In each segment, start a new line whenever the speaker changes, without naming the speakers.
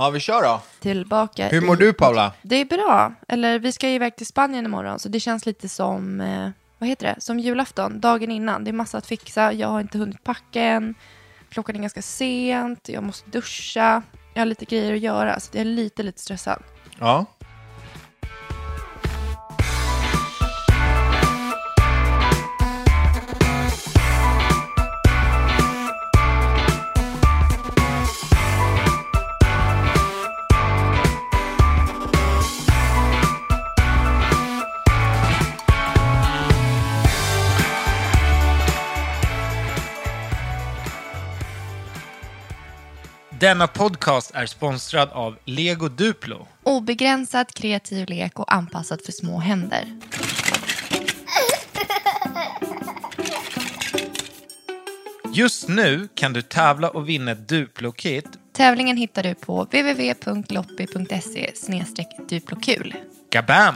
Ja, vi kör då.
Tillbaka.
Hur mår
i-
du Paula?
Det är bra. Eller vi ska ju iväg till Spanien imorgon så det känns lite som, eh, vad heter det, som julafton, dagen innan. Det är massa att fixa, jag har inte hunnit packa än, klockan är ganska sent, jag måste duscha, jag har lite grejer att göra så jag är lite, lite stressad.
Ja.
Denna podcast är sponsrad av Lego Duplo.
Obegränsad kreativ lek och anpassad för små händer.
Just nu kan du tävla och vinna ett Duplo-kit.
Tävlingen hittar du på www.loppy.se duplokul.
Gabam!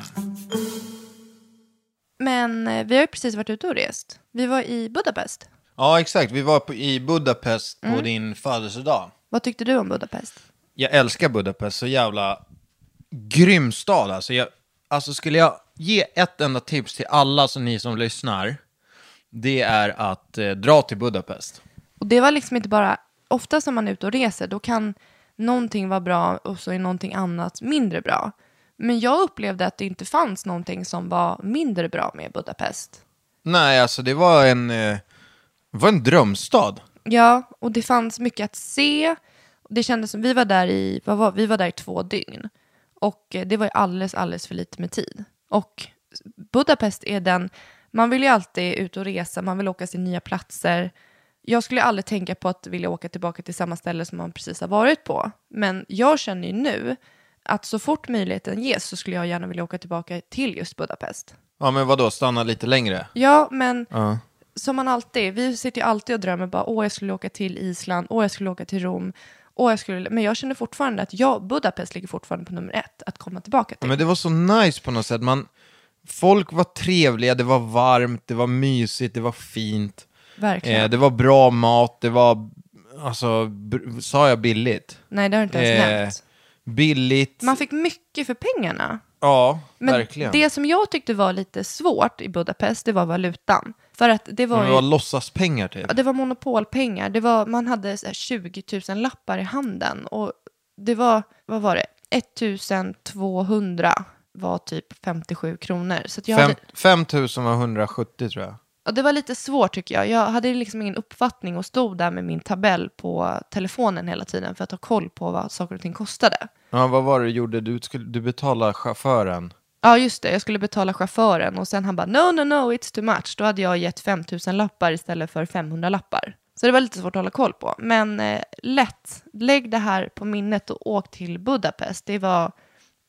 Men eh, vi har ju precis varit ute och rest. Vi var i Budapest.
Ja, exakt. Vi var på, i Budapest på
Mm.
din födelsedag.
Vad tyckte du om Budapest?
Jag älskar Budapest, så jävla grym stad alltså. Jag, alltså skulle jag ge ett enda tips till alla så ni som lyssnar, det är att eh, dra till Budapest.
Och det var liksom inte bara, ofta som man är ute och reser, då kan någonting vara bra och så är någonting annat mindre bra. Men jag upplevde att det inte fanns någonting som var mindre bra med Budapest.
Nej, alltså det var en, eh, det var en drömstad.
Ja, och det fanns mycket att se. Det kändes som, vi var där i, vad var, vi var där i två dygn. Och eh, det var ju alldeles, alldeles för lite med tid. Och Budapest är den, man vill ju alltid ut och resa, man vill åka till nya platser. Jag skulle aldrig tänka på att vilja åka tillbaka till samma ställe som man precis har varit på. Men jag känner ju nu att så fort möjligheten ges så skulle jag gärna vilja åka tillbaka till just Budapest.
Ja, men vadå, stanna lite längre?
Ja, men
Ja.
som man alltid, vi sitter ju alltid och drömmer bara, åh jag skulle åka till Island, åh jag skulle åka till Rom, åh jag skulle, men jag känner fortfarande att jag, Budapest ligger fortfarande på nummer ett att komma tillbaka
Ja,
till.
men det var så nice på något sätt. Man, folk var trevliga, det var varmt, det var mysigt, det var fint.
Verkligen.
Eh, det var bra mat, det var, alltså, br- sa jag billigt?
Nej, det har du inte ens
eh,
nämnt.
Billigt,
Man fick mycket för pengarna.
ja,
Men
verkligen.
det som jag tyckte var lite svårt i Budapest, det var valutan. För att det var,
Men det var
ju,
låtsaspengar typ.
ja, det var monopolpengar, det var, man hade så här 20 000 lappar i handen och det var, vad var det, 1200 var typ 57 kronor. Så att jag hade,
Fem, 5 000 var 170 tror jag.
Och det var lite svårt tycker jag. Jag hade liksom ingen uppfattning och stod där med min tabell på telefonen hela tiden för att ha koll på vad saker och ting kostade.
Ja, vad var det du gjorde? Du, skulle, du betalade chauffören.
Ja, just det. Jag skulle betala chauffören och sen han bara no, no, no, it's too much. Då hade jag gett 5000 lappar istället för 500 lappar. Så det var lite svårt att hålla koll på. Men eh, lätt, lägg det här på minnet och åk till Budapest. Det var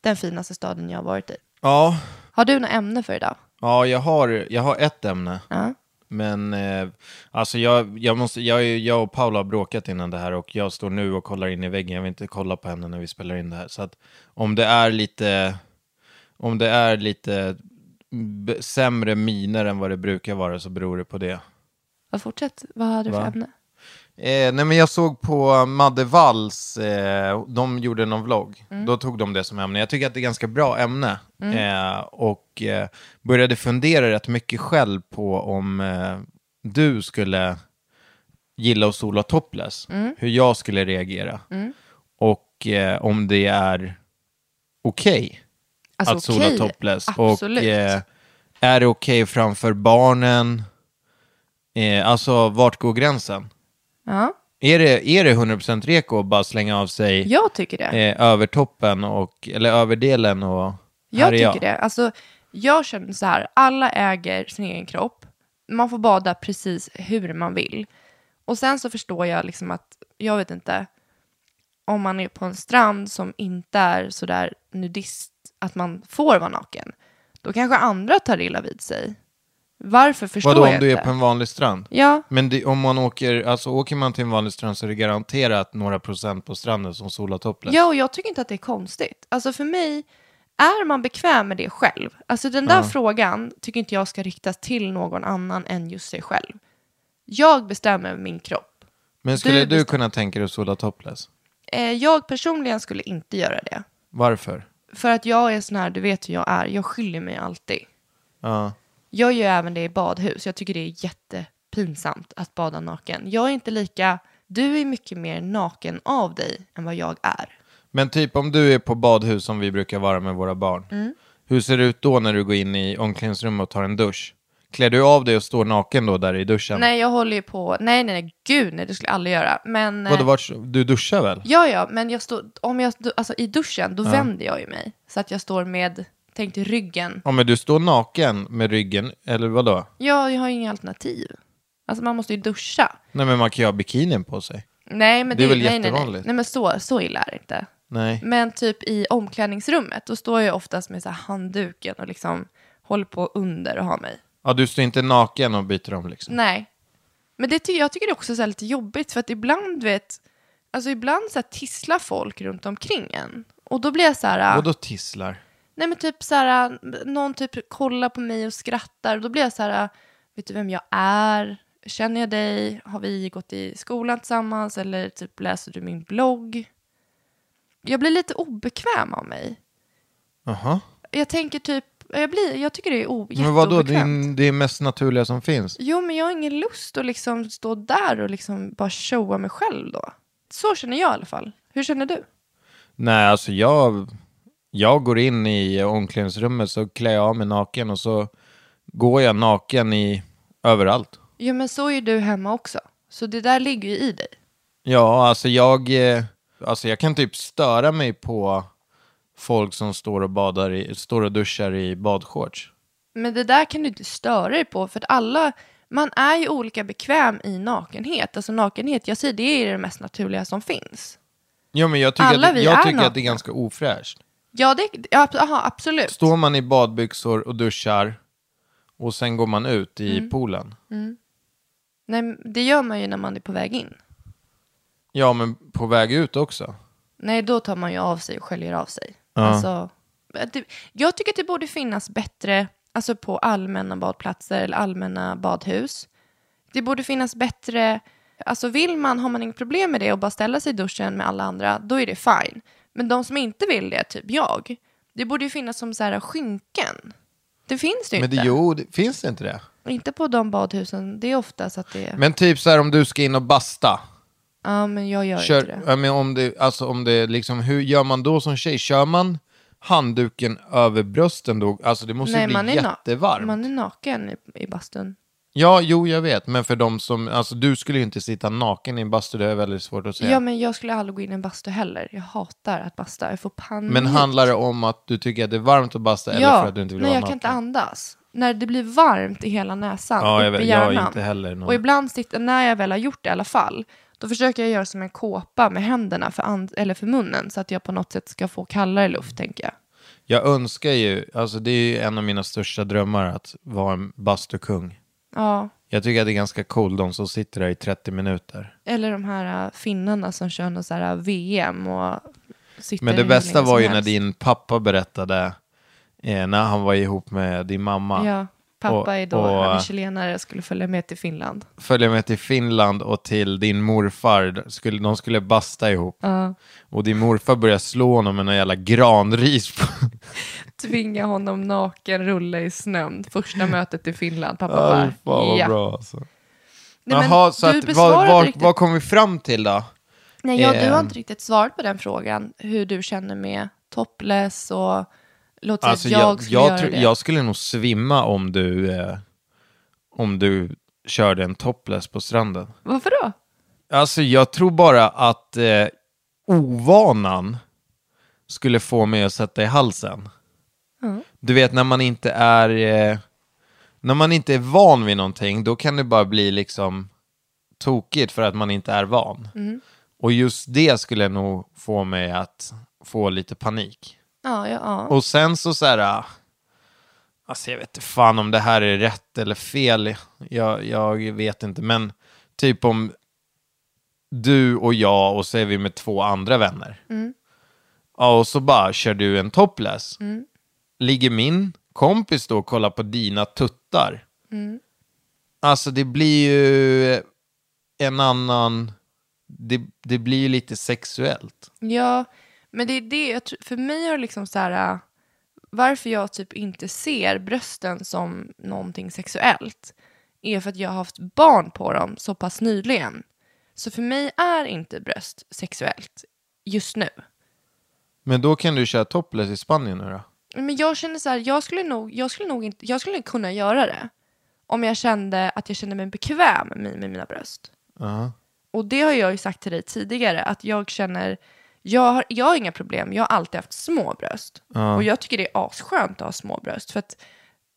den finaste staden jag har varit i.
Ja,
Har du något ämne för idag?
ja jag, har, jag har ett ämne.
Ja.
Men eh, alltså jag, jag, måste, jag, är- jag och Paula har bråkat innan det här och jag står nu och kollar in i väggen. Jag vill inte kolla på henne när vi spelar in det här. Så att om det är lite, om det är lite b- sämre miner än vad det brukar vara så beror det på det.
Vad fortsätt. Vad hade du för
Va?
ämne?
Eh, nej men jag såg på Madde Walls, eh, de gjorde någon vlogg. Då tog de det som ämne. Jag tycker att det är ganska bra ämne. Eh, och eh, började fundera rätt mycket själv på om eh, du skulle gilla att sola topless. Hur jag skulle reagera. Och eh, om det är okej
Alltså,
att sola
okej.
topless.
Absolut.
Och eh, är det okej framför barnen? Eh, alltså vart går gränsen?
ja.
Är det, är det 100% reko att bara slänga av sig
Jag tycker det.
eh, övertoppen och, eller överdelen och
Jag
här är
tycker
jag?
det. Alltså, jag känner så här, alla äger sin egen kropp. Man får bada precis hur man vill. Och sen så förstår jag liksom att, jag vet inte, om man är på en strand som inte är sådär nudist, att man får vara naken, då kanske andra tar illa vid sig. Varför förstår
Vadå
jag
om du
inte?
är på en vanlig strand?
Ja,
Men det, om man åker, alltså åker man till en vanlig strand så är det garanterat några procent på stranden som solar topless.
Ja, och jag tycker inte att det är konstigt. Alltså för mig, är man bekväm med det själv? Alltså den där frågan tycker inte jag ska riktas till någon annan än just sig själv. Jag bestämmer över min kropp.
Men skulle
Du
du
bestäm-
kunna tänka dig att sola topless?
Eh, jag personligen skulle inte göra det.
Varför?
För att jag är sån här, du vet hur jag är, jag skyller mig alltid.
Ja.
Jag gör även det i badhus, jag tycker det är jättepinsamt att bada naken. Jag är inte lika, du är mycket mer naken av dig än vad jag är.
Men typ om du är på badhus som vi brukar vara med våra barn.
Mm.
Hur ser det ut då när du går in i omklädningsrummet och tar en dusch? Klär du av dig och står naken då där i duschen?
Nej, jag håller ju på, nej, nej, nej, gud, nej, det skulle jag aldrig göra. Men...
Vadå,
eh,
vart, du duschar väl?
Ja, ja, men jag står, om jag, alltså, i duschen då vänder jag ju mig. Så att jag står med, tänk dig ryggen.
Ja, men du står naken med ryggen, eller vadå?
Ja, jag har ju inga alternativ. Alltså man måste ju duscha.
Nej, men man kan ju ha bikinin på sig.
Nej, men
Det är väl
nej, nej, nej.
jättevanligt.
nej, men så, så illa är det inte.
Nej.
Men typ i omklädningsrummet, då står jag ju oftast med så här handduken och liksom håller på under och har mig.
Ja, du står inte naken och byter om liksom.
Nej. Men det ty- jag tycker det är också så här lite jobbigt för att ibland, du vet, alltså ibland så här tisslar folk runt omkring en. Och då blir jag så här...
Och då tisslar.
Nej men typ så här, någon typ kollar på mig och skrattar och då blir jag så här, äh, vet du vem jag är? Känner jag dig? Har vi gått i skolan tillsammans? Eller typ läser du min blogg? Jag blir lite obekväm av mig.
Jaha.
Jag tänker typ, jag, blir, jag tycker det är o-
Men vadå, det är,
jätteobekvämt.
en- det är mest naturliga som finns.
Jo men jag har ingen lust att liksom stå där och liksom bara showa mig själv då. Så känner jag i alla fall. Hur känner du?
Nej, alltså jag, jag går in i omklädningsrummet så klär jag av mig naken och så går jag naken i överallt.
Jo men så är ju du hemma också. Så det där ligger ju i dig.
Ja, alltså jag, eh, alltså jag kan typ störa mig på folk som står och, badar i, står och duschar i badshorts.
Men det där kan du inte störa dig på för att alla, man är ju olika bekväm i nakenhet. Alltså nakenhet, jag säger det är det mest naturliga som finns.
Ja, men jag tycker,
Alla
att,
vi
jag
är
tycker att det är
nakna.
ganska ofräscht.
Ja, det, ja ab- aha, absolut.
Står man i badbyxor och duschar och sen går man ut i
Mm.
poolen.
Nej, men det gör man ju när man är på väg in.
Ja, men på väg ut också.
Nej, då tar man ju av sig och sköljer av sig. Alltså, det, jag tycker att det borde finnas bättre, alltså på allmänna badplatser eller allmänna badhus. Det borde finnas bättre, alltså vill man, har man inget problem med det och bara ställa sig i duschen med alla andra, då är det fine. Men de som inte vill det, typ jag, det borde ju finnas som så här skynken. Det finns det ju
Men det,
inte.
jo, det, finns det inte det?
Inte på de badhusen, det är oftast att det är,
Men typ så här om du ska in och basta.
ja men jag gör inte
Kör,
det.
ja, men om det, alltså om det liksom, hur gör man då som tjej? Kör man handduken över brösten då? Alltså det måste ju bli
na-
jättevarmt.
man är naken i, i bastun.
Ja, jo, jag vet. Men för de som, alltså du skulle ju inte sitta naken i en bastu, det är väldigt svårt att säga.
Ja, men jag skulle aldrig gå in i en bastu heller. Jag hatar att basta. Jag får panik.
Men handlar det om att du tycker att det är varmt att basta eller för att du inte vill
nej,
vara
jag
naken?
kan inte andas. När det blir varmt i hela näsan,
Ja, jag
upp i
vet. Jag är
hjärnan.
inte heller någon-
Och ibland, sitter, när jag väl har gjort det i alla fall, då försöker jag göra som en kåpa med händerna för and- eller för munnen så att jag på något sätt ska få kallare luft, tänker jag.
Jag önskar ju, alltså det är ju en av mina största drömmar att vara en bastukung.
Ja,
Jag tycker att det är ganska cool de som sitter där i 30 minuter.
eller de här äh, finnarna som kör någon så här äh, VM och sitter
Men det
hur
bästa
länge
var
som
ju när
helst.
din pappa berättade eh, när han var ihop med din mamma.
Ja, pappa
och-
är då,
och-
han är chilenare, skulle följa med till Finland.
Följde med till Finland och till din morfar. Skulle, de skulle basta ihop. Och din morfar började slå honom med någon jävla granris. På.
tvinga honom naken rulla i snön. Första mötet i Finland. Pappa
Ja,
bara,
fan vad
ja.
bra alltså.
Nej, men
Jaha, så
du
att, vad,
besvarade
vad,
riktigt-
vad kom vi fram till då?
Nej, ja, du har
Ehm.
inte riktigt svarat på den frågan. Hur du känner med topless och låt säga
Alltså,
att jag,
jag,
skulle
jag,
göra
tror-
det.
jag skulle nog svimma om du, eh, om du körde en topless på stranden.
Varför då?
Alltså jag tror bara att eh, ovanan skulle få mig att sätta i halsen. Du vet när man inte är eh, när man inte är van vid någonting då kan det bara bli liksom tokigt för att man inte är van. Och just det skulle nog få mig att få lite panik.
Ja, ja, ja.
Och sen så så här, ah, alltså jag vet inte fan om det här är rätt eller fel, jag, jag vet inte, men typ om du och jag och så är vi med två andra vänner. Ja, och så bara kör du en topless. Ligger min kompis då och kollar på dina tuttar? Alltså det blir ju en annan, det, det blir ju lite sexuellt.
ja. Men det är det, jag tror, för mig har liksom så här, äh, varför jag typ inte ser brösten som någonting sexuellt är för att jag har haft barn på dem så pass nyligen. Så för mig är inte bröst sexuellt just nu.
Men då kan du köra topless i Spanien nu då?
Men jag känner så här, jag skulle nog, jag skulle nog inte, jag skulle kunna göra det. Om jag kände att jag kände mig bekväm med, med mina bröst.
Ja.
Och det har jag ju sagt till dig tidigare, att jag känner, jag har, jag har inga problem, jag har alltid haft små bröst. Och jag tycker det är asskönt att ha små bröst. För att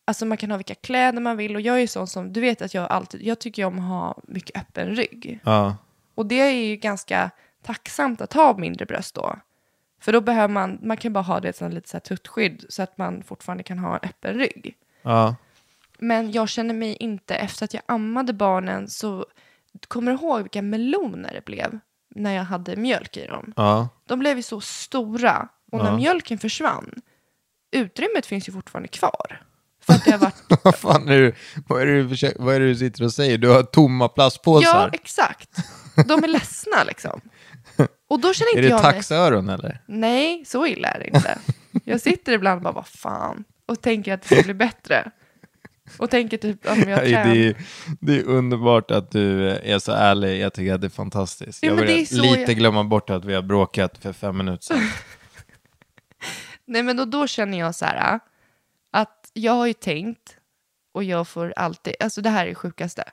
alltså, man kan ha vilka kläder man vill och jag är ju sån som, du vet att jag alltid, jag tycker om att ha mycket öppen rygg.
Ja.
Och det är ju ganska tacksamt att ha mindre bröst då. För då behöver man, man kan bara ha det som lite så här tuttskydd så att man fortfarande kan ha en öppen rygg.
Ja.
Men jag känner mig inte, efter att jag ammade barnen så kommer du ihåg vilka meloner det blev när jag hade mjölk i dem?
Ja.
De blev ju så stora och när mjölken försvann, utrymmet finns ju fortfarande kvar. För att det har varit
Vad fan är du, vad är det du, försöker, vad är det du sitter och säger? Du har tomma plastpåsar.
Ja, exakt. De är ledsna liksom. Och då känner
är
inte
det
jag mig...
taxöron eller?
Nej, så illa är det inte. Jag sitter ibland och bara, vad fan, och tänker att det ska bli bättre. Och tänker typ, om jag
Nej,
tränar.
det, är, det är underbart att du är så ärlig. Jag tycker att det är fantastiskt.
Ja,
jag
men
börjar
det är så
lite
jag-
glömma bort att vi har bråkat för fem minuter sedan.
Nej, men då, då känner jag så här, äh, att jag har ju tänkt, och jag får alltid, alltså det här är det sjukaste.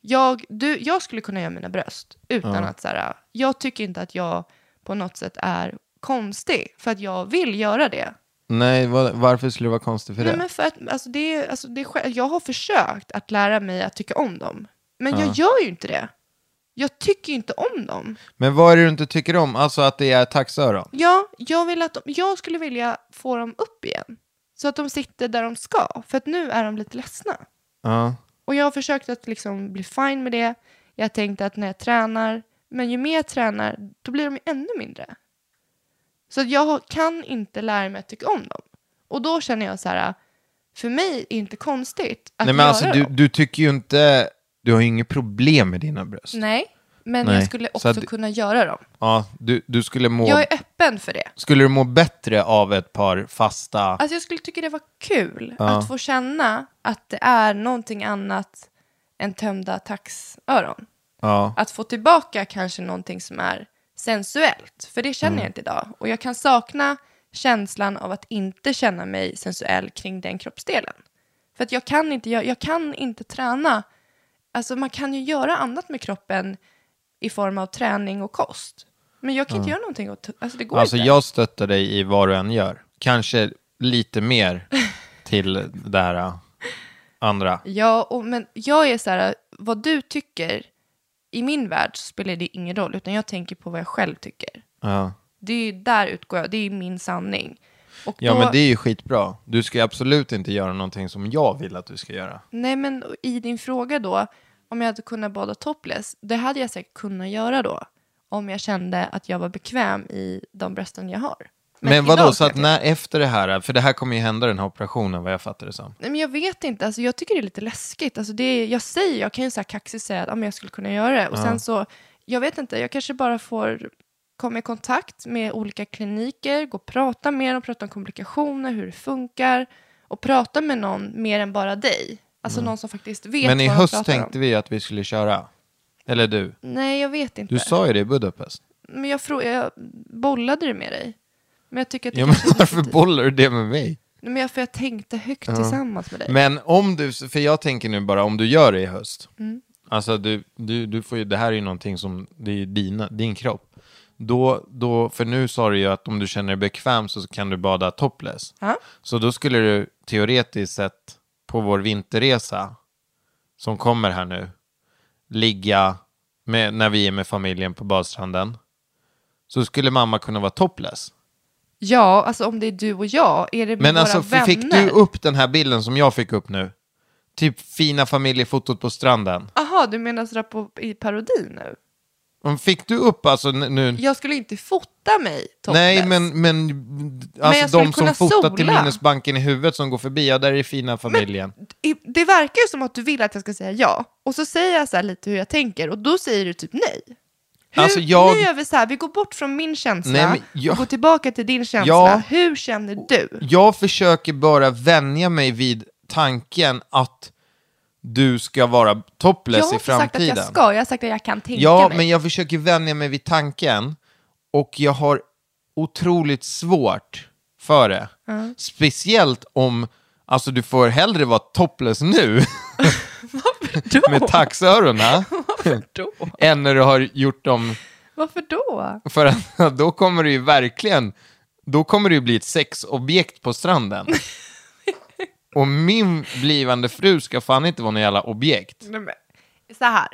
Jag, du, jag skulle kunna göra mina bröst utan att så här, äh, jag tycker inte att jag på något sätt är konstig, för att jag vill göra det.
Nej, vad- varför skulle det vara konstigt för
Nej,
det?
men för att, alltså det, är- alltså det är, själv- jag har försökt att lära mig att tycka om dem, men jag gör ju inte det. Jag tycker ju inte om dem.
Men vad är det du inte tycker om? Alltså att det är taxöron?
Ja, jag, vill att de, jag skulle vilja få dem upp igen, så att de sitter där de ska, för att nu är de lite ledsna.
Ja.
Och jag har försökt att liksom bli fine med det. Jag har tänkt att när jag tränar, men ju mer jag tränar, då blir de ju ännu mindre. Så att jag har- kan inte lära mig att tycka om dem. Och då känner jag så här, för mig är det inte konstigt att
Nej, men
göra
alltså du,
dem.
du tycker ju inte... Du har ju inget problem med dina bröst.
Nej, men
Nej.
jag skulle
Så
också
att-
kunna göra dem.
Ja, du, du skulle må...
Jag är öppen för det.
Skulle du må bättre av ett par fasta...
Alltså jag skulle tycka det var kul att få känna att det är någonting annat än tömda taxöron.
Ja.
att få tillbaka kanske någonting som är sensuellt. För det känner
Mm.
jag inte idag. Och jag kan sakna känslan av att inte känna mig sensuell kring den kroppsdelen. För att jag kan inte, jag, jag kan inte träna. Alltså man kan ju göra annat med kroppen i form av träning och kost. Men jag kan inte göra någonting åt, alltså det går
Alltså
inte.
jag stöttar dig i vad du än gör. Kanske lite mer till det här äh, andra.
Ja, och, men jag är så här, vad du tycker, i min värld så spelar det ingen roll. Utan jag tänker på vad jag själv tycker.
Ja,
Det är ju där utgår jag, det är min sanning. Och
ja
då,
men det är ju skitbra. Du ska ju absolut inte göra någonting som jag vill att du ska göra.
Nej men i din fråga då, om jag hade kunnat bada topless, det hade jag säkert kunnat göra då. Om jag kände att jag var bekväm i de brösten jag har.
Men,
idag
vadå,
kan
så
jag
att
inte.
när efter det här, för det här kommer ju hända den här operationen vad jag fattar det som.
Nej men jag vet inte, alltså, jag tycker det är lite läskigt. Alltså, det är, jag säger, jag kan ju så här kaxigt säga att ja, men jag skulle kunna göra det. Och sen så, jag vet inte, jag kanske bara får komma i kontakt med olika kliniker, gå och prata med dem, prata om komplikationer, hur det funkar. Och prata med någon mer än bara dig. Alltså någon som faktiskt vet
Mm. Men i
vad
höst
de pratar om.
tänkte vi att vi skulle köra. Eller du.
Nej, jag vet inte.
Du sa ju det i Budapest.
Men jag, frå- jag bollade det med dig. Men jag tycker att det
Ja, men
kanske är
varför
lite-
bollar du det med mig?
Nej, Men jag, för jag tänkte högt tillsammans med dig. Mm.
Men om du, för jag tänker nu bara om du gör det i höst, Alltså du, du, du får ju, det här är ju någonting som, det är ju dina, din kropp. Då, då, för nu sa du ju att om du känner dig bekväm så kan du bada topless.
Ja.
Så då skulle du teoretiskt sett på vår vinterresa som kommer här nu ligga med, när vi är med familjen på badstranden. Så skulle mamma kunna vara topless.
Ja, alltså om det är du och jag, är det med
Men
våra
alltså
vänner?
fick du upp den här bilden som jag fick upp nu? Typ fina familjefotot på stranden.
Aha, du menar sådär på, i parodi nu?
Men Fick du upp alltså n- nu?
Jag skulle inte fota mig topless.
Nej, men, men
Men jag
alltså
skulle
de som
kunna
fotar
sola.
till minnesbanken i huvudet som går förbi, ja där är fina familjen.
I- Det verkar ju som att du vill att jag ska säga ja. Och så säger jag så här lite hur jag tänker och då säger du typ nej. Hur,
Alltså, jag-
Nu gör vi så här, vi går bort från min känsla
Nej, men jag-
och går tillbaka till din känsla.
Ja.
Hur känner du?
Jag försöker bara vänja mig vid tanken att du ska vara
Jag
topless
har
i
inte sagt att
framtiden.
jag ska, jag har sagt att jag kan tänka
Ja,
mig.
men jag försöker vänja mig vid tanken och jag har otroligt svårt för det. Speciellt om, alltså du får hellre vara topless nu
Varför då?
med taxöronen
Varför då?
än när du har gjort dem,
Varför då?
för att då kommer du ju verkligen, då kommer du ju bli ett sexobjekt på stranden. Och min blivande fru ska fan inte vara någon jävla objekt.
Nej, men, så här.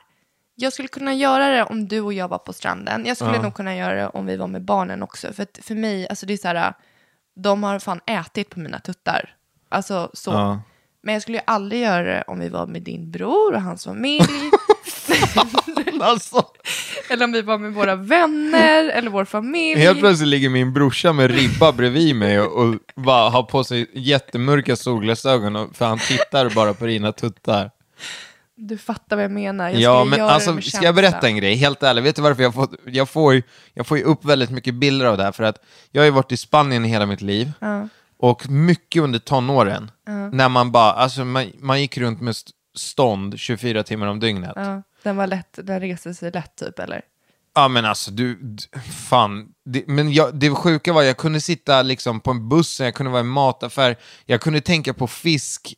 Jag skulle kunna göra det om du och jag var på stranden. Jag skulle nog kunna göra det om vi var med barnen också. För att för mig, alltså det är så här, de har fan ätit på mina tuttar. Alltså så.
Ja.
Men jag skulle ju aldrig göra det om vi var med din bror och hans familj.
Alltså,
eller om vi var med våra vänner eller vår familj.
Helt plötsligt ligger min brorsa med ribba bredvid mig och, och bara har på sig jättemörka solglasögon och- för han tittar bara på dina tuttar.
Du fattar vad jag menar. Jag
Ja,
skulle
men
göra det
alltså,
med
ska
känsla.
jag berätta en grej? Helt ärligt, vet du varför jag, fått, jag, får, ju- jag får ju upp väldigt mycket bilder av det här? För att jag har ju varit i Spanien i hela mitt liv. Och mycket under tonåren. När man bara, alltså man, man gick runt med st- stånd 24 timmar om dygnet.
Ja, den var lätt, den reste sig lätt typ eller?
Ja men alltså du, d- fan. Det, men jag, det sjuka var jag kunde sitta liksom på en buss, jag kunde vara i en mataffär, jag kunde tänka på fisk.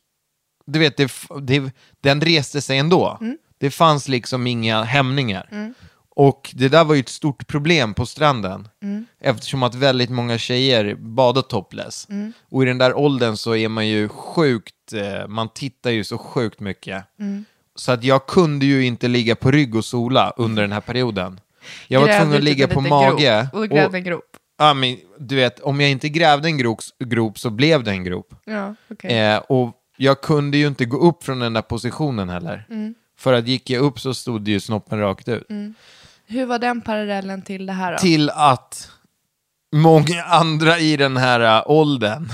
Du vet, det, f- det, den reste sig ändå.
Mm.
Det fanns liksom inga hämningar. Och det där var ju ett stort problem på stranden.
Mm.
Eftersom att väldigt många tjejer badar topless.
Mm.
Och i den där åldern så är man ju sjukt, eh, man tittar ju så sjukt mycket.
Mm.
Så att jag kunde ju inte ligga på rygg och sola under den här perioden. Jag var
Grävde
tvungen att
typ
ligga
en
på
liten
mage.
Grop, och grävde en grop.
ja, men, du vet, om jag inte grävde en grop, grop så blev det en grop.
Ja, okej.
Eh, och jag kunde ju inte gå upp från den där positionen heller.
Mm.
För att gick jag upp så stod ju snoppen rakt ut.
Hur var den parallellen till det här då?
Till att många andra i den här äh, åldern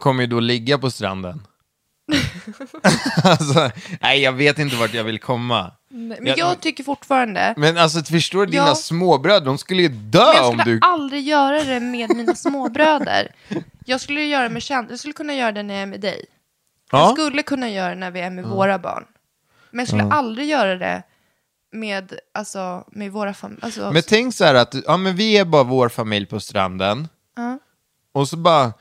kommer ju då ligga på stranden. alltså, nej, jag vet inte vart jag vill komma.
Men
Jag-
jag, tycker fortfarande,
Men alltså förstår du, dina
Mm. Ja.
småbröder, de skulle ju dö
men jag
om
skulle
du...
aldrig göra det med mina småbröder. Jag skulle göra det med känd... jag skulle kunna göra det när jag är med dig. Jag
Ja.
skulle kunna göra det när vi är med våra barn. Men jag skulle aldrig göra det med, alltså, med våra familjer. Alltså,
Men tänk så här att, ja men vi är bara vår familj på stranden.
Ja.
Och så bara,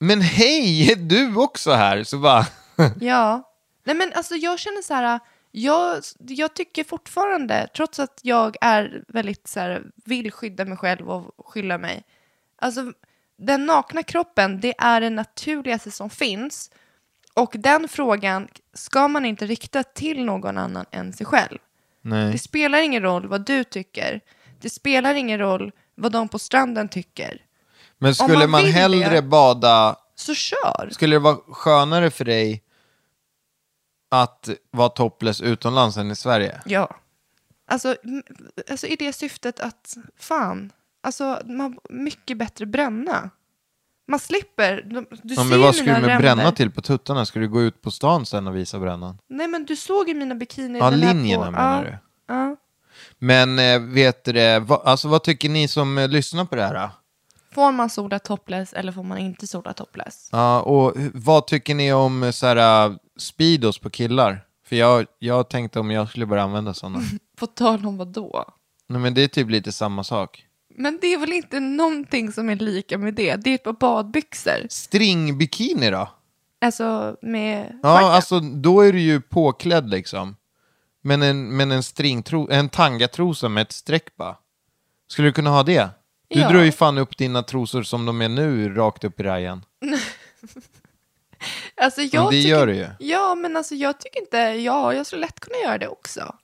men hej, är du också här? Så bara,
Ja. Nej men alltså jag känner så här, jag, jag tycker fortfarande, trots att jag är väldigt så här, vill skydda mig själv och skylla mig. Alltså den nakna kroppen, det är det naturligaste som finns. Och den frågan ska man inte rikta till någon annan än sig själv. Det
nej.
spelar ingen roll vad du tycker. Det spelar ingen roll vad de på stranden tycker.
Men skulle
man
man,
vill
hellre
det-
bada
Så kör!
Skulle det vara skönare för dig att vara topless utomlands än i Sverige?
Ja. Alltså, m- alltså i det syftet att fan, alltså man mycket bättre bränna. Man slipper, de- du
Ja,
ser
men
ju
vad skulle
mina
du med
ränder.
bränna till på tuttarna? Skulle du gå ut på stan sen och visa brännan?
Nej men du såg ju mina bikini.
Ja,
den här
linjerna
på.
menar
ja,
du.
Ja.
Men eh, vet du det, vad, alltså, vad tycker ni som eh, lyssnar på det här? då?
Får man sola topless eller får man inte sola topless?
Ja, och hu- vad tycker ni om eh, så här, eh, speedos på killar? För jag, jag tänkte om jag skulle börja använda sådana.
På tal om vad då?
Nej, men det är typ lite samma sak.
Men det är väl inte någonting som är lika med det? Det är ett par badbyxor.
Stringbikini då?
Alltså med...
Ja, alltså då är du ju påklädd liksom. Men en, men en, stringtro, en tangatrosa med ett streck bara. Skulle du kunna ha det? Du
Ja.
drar ju fan upp dina trosor som de är nu, rakt upp i rajen.
Alltså, jag
det
tycker,
gör du ju.
Ja, men alltså jag tycker inte, ja, jag skulle lätt kunna göra det också.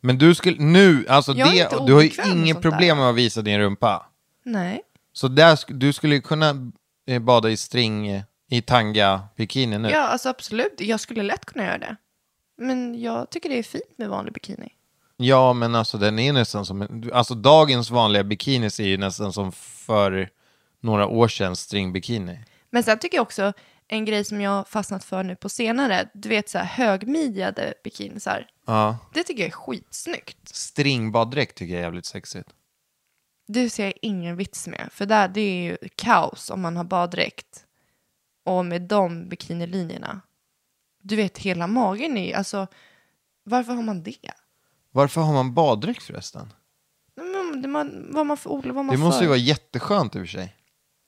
Men du skulle, nu, alltså
Jag är
det,
inte
du har ju
obekväm med
inget
sånt där.
problem med att visa din rumpa.
Nej.
Så där, sk- du skulle ju kunna eh, bada i string, eh, i tanga bikini nu.
Ja, alltså absolut, jag skulle lätt kunna göra det. Men jag tycker det är fint med vanlig bikini.
Ja, men alltså den är nästan som, en- alltså dagens vanliga bikinis är ju nästan som för några år sedan stringbikini.
Men sen tycker jag också en grej som jag har fastnat för nu på senare, du vet så här högmidjade bikinisar.
Ja.
Det tycker jag är skitsnyggt.
Stringbaddräkt tycker jag är jävligt sexigt.
Det ser jag ingen vits med, för där det är ju kaos om man har baddräkt. Och med de bikinilinjerna. Du vet, hela magen är ju, alltså, varför har man det?
Varför har man baddräkt förresten?
Men det man, vad man för odlar, vad man
Det måste
för.
ju vara jätteskönt i och för sig.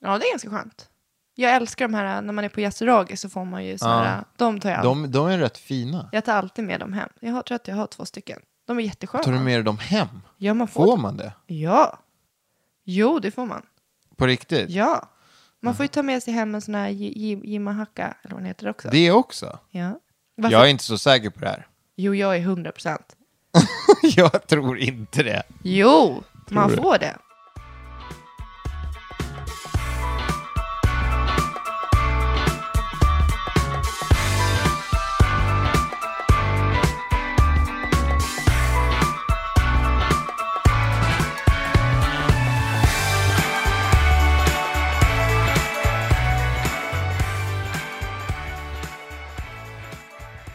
Ja, det är ganska skönt. Jag älskar de här, när man är på Yasuragi så får man ju såna
Ja.
här, de tar jag, all-
De, de är rätt fina.
jag tar alltid med dem hem. Jag har, tror att jag har två stycken. De är jättesköna.
Tar du med dig dem hem?
Ja, man får.
Får man det?
Ja. Jo, det får man.
På riktigt?
Ja. Man får ju ta med sig hem en sån här Ji- Ji- Jimahaka, eller vad den heter också.
Det också?
Ja. Varför?
Jag är inte så säker på det här.
Jo, jag är 100 procent.
jag tror inte det.
Jo, man får det.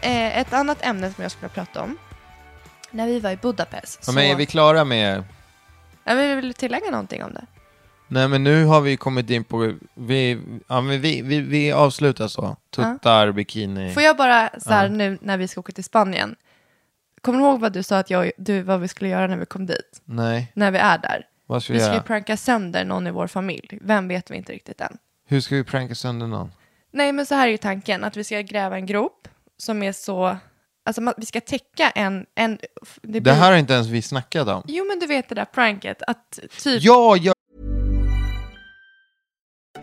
Eh, Ett annat ämne som jag skulle prata om. När vi var i Budapest.
Ja, Men är vi klara med...
Ja, men vill du tillägga någonting om det?
Nej men nu har vi kommit in på... Vi, ja, men vi, vi, vi avslutar så. Tuttar, bikini.
Får jag bara så här nu när vi ska åka till Spanien. Kommer du ihåg vad du sa att jag, du, vad vi skulle göra när vi kom dit?
Nej,
När vi är där?
vad ska vi,
Vi skulle ju
göra?
pranka sönder någon i vår familj. Vem vet vi inte riktigt än.
Hur ska vi pranka sönder någon?
Nej, men så här är ju tanken. Att vi ska gräva en grop som är så... Alltså man, vi ska täcka en... en det,
Det
blir-
här har inte ens vi snackat om.
Jo, men du vet det där pranket. Att typ...
Ja, jag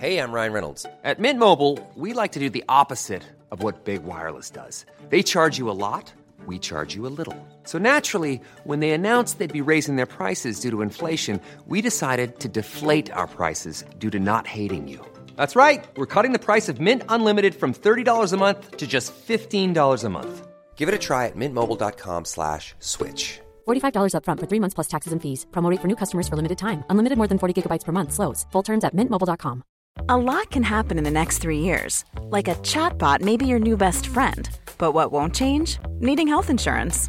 Hey, I'm Ryan Reynolds. At Mint Mobile, we like to do the opposite of what Big Wireless does. They charge you a lot, we charge you a little. So naturally, when they announced they'd be raising their prices due to inflation, we decided to deflate our prices due to not hating you. That's right. We're cutting the price of Mint Unlimited from $30 a month to just $15 a month. Give it a try at mintmobile.com slash switch.
$45 upfront for three months plus taxes and fees. Promo rate for new customers for limited time. Unlimited more than 40 gigabytes per month. Slows. Full terms at mintmobile.com.
A lot can happen in the next three years. Like a chatbot may be your new best friend. But what won't change? Needing health insurance.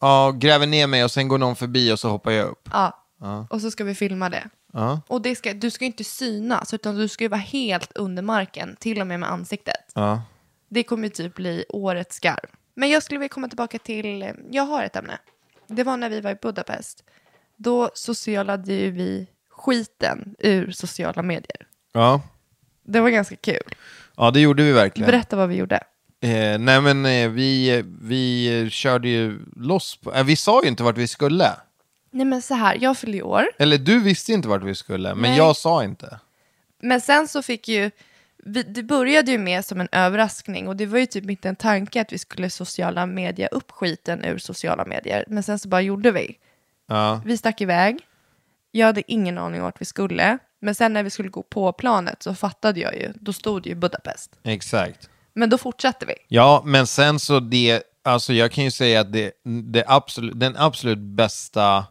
Ja, gräver ner mig och sen går någon förbi och så hoppar jag upp.
Ja. Och så ska vi filma det.
Ja,
Och det ska, du ska ju inte synas, utan du ska ju vara helt under marken, till och med med ansiktet.
ja.
Det kommer ju typ bli årets skarv. Men jag skulle vilja komma tillbaka till, eh, jag har ett ämne. Det var när vi var i Budapest. Då socialade ju vi skiten ur sociala medier.
Ja,
Det var ganska kul.
ja det gjorde vi verkligen.
Berätta vad vi gjorde.
Eh, nej men eh, vi, eh, vi eh, körde ju loss på, eh, vi sa ju inte vart vi skulle.
Nej men så här, jag fyllde ju år.
Eller du visste inte vart vi skulle, men
Nej.
jag sa inte.
Men sen så fick ju, vi, det började ju med som en överraskning och det var ju typ inte en tanke att vi skulle sociala media upp skiten ur sociala medier. Men sen så bara gjorde vi.
Ja.
Vi stack iväg. Jag hade ingen aning om vart vi skulle. Men sen när vi skulle gå på planet så fattade jag ju. Då stod det ju Budapest.
Exakt.
Men då fortsatte vi.
Ja, men sen så det, alltså jag kan ju säga att det, det absolut, den absolut bästa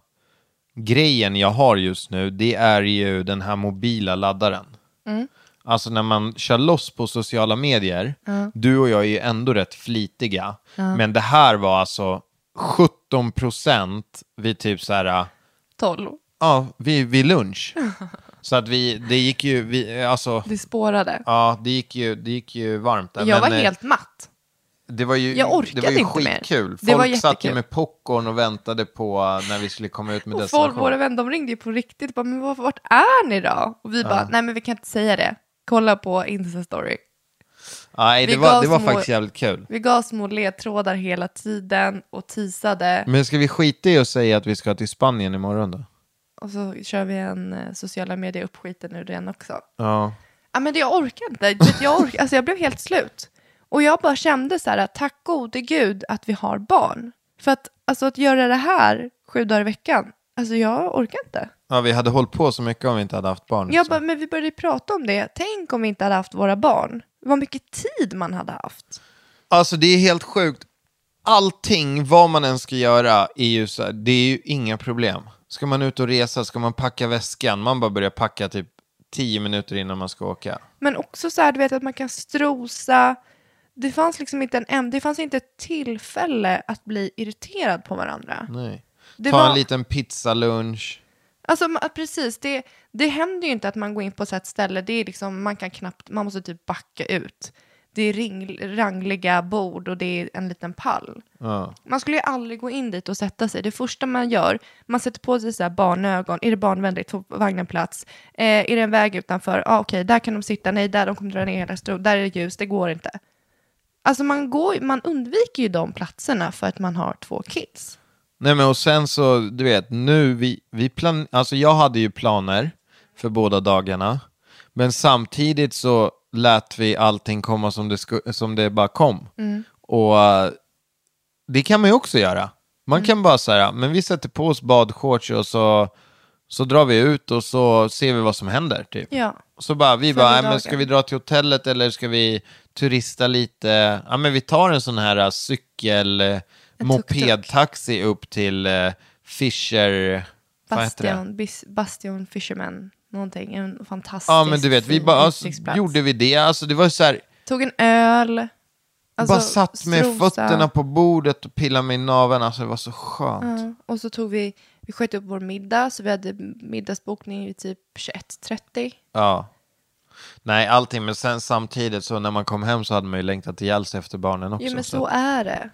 grejen jag har just nu, det är ju den här mobila laddaren.
Mm.
Alltså när man kör loss på sociala medier,
Mm.
du och jag är ju ändå rätt flitiga, men det här var alltså 17 procent vid typ så här,
Tolv.
ja, vid, vid lunch. Så att vi, det gick ju, vi, alltså,
Det spårade.
ja, det gick ju, det gick ju varmt där.
jag var
men, eh,
helt matt.
det var ju,
Jag orkade
det var ju
inte mer.
skitkul. Folk
Det var
satt ju
jättekul.
med popcorn och väntade på när vi skulle komma ut med
Och folk,
destination.
våra vänner, de ringde ju på riktigt. Bara, men var- vart är ni då? Och vi bara, nej men vi kan inte säga det. Kolla på Insta-story.
Nej, det
vi
var,
gav
det var
små-
faktiskt jävligt kul.
Vi gav små ledtrådar hela tiden och tisade.
Men ska vi skita i och säga att vi ska till Spanien imorgon då?
Och så kör vi en eh, sociala medier uppskiten ur den också.
Ja.
Ja men det, jag orkar inte. Du vet, Jag, ork, alltså, jag blev helt slut. Och jag bara kände så här, att tack gode gud att vi har barn. För att, alltså, att göra det här sju dagar i veckan, alltså jag orkar inte.
ja, vi hade hållit på så mycket om vi inte hade haft barn.
Jag
liksom.
bara, men vi började prata om det. Tänk om vi inte hade haft våra barn. Vad mycket tid man hade haft.
Alltså det är helt sjukt. Allting, vad man än ska göra, är ju så här, det är ju inga problem. Ska man ut och resa, ska man packa väskan, man bara börjar packa typ tio minuter innan man ska åka.
Men också så här, du vet att man kan strosa. Det fanns liksom inte en, en det fanns inte ett tillfälle att bli irriterad på varandra.
Nej.
Det
Ta
var-
en liten pizzalunch.
Alltså ma- precis, det, det händer ju inte att man går in på så här ett ställe, det är liksom, man kan knappt, man måste typ backa ut. Det är ring, rangliga bord och det är en liten pall.
Ja.
Man skulle ju aldrig gå in dit och sätta sig. Det första man gör, man sätter på sig så här barnögon. Är det barnvänligt? Får vagnen plats? Eh, är det en väg utanför? Ah, Okej, där kan de sitta. Nej, där de kommer dra ner hela stro. Där är det ljus. Det går inte. Alltså man, går, ju- man undviker ju de platserna för att man har två kids.
Nej men och sen så, du vet, nu vi, vi plan, alltså jag hade ju planer för båda dagarna, men samtidigt så lät vi allting komma som det, sku- som det bara kom. Och eh, det kan man ju också göra. Man kan bara säga, men vi sätter på oss badshorts och så, så drar vi ut och så ser vi vad som händer. Typ.
Ja.
Så bara, vi
För
bara,
den
"Nej, men
dagen."
ska vi dra till hotellet eller ska vi turista lite? Ja, men vi tar en sån här eh, cykel, eh, mopedtaxi upp till eh, Fisher... vad heter det?
Bastion, bis, Bastion Fisherman, någonting. En fantastisk
Ja, men du vet, vi
fin
bara, alltså,
utsiktsplats.
gjorde vi det? Alltså det var så här,
Tog en öl. alltså,
bara satt med
strosa.
fötterna på bordet och pillade mig i naveln. Alltså det var så skönt.
Ja, och så tog vi, vi sköt upp vår middag, så vi hade middagsbokning vid typ 21.30.
Ja. Nej, allting, men sen samtidigt så när man kom hem så hade man ju längtat ihjäl sig efter barnen också.
Jo men
så
så
att-
är det.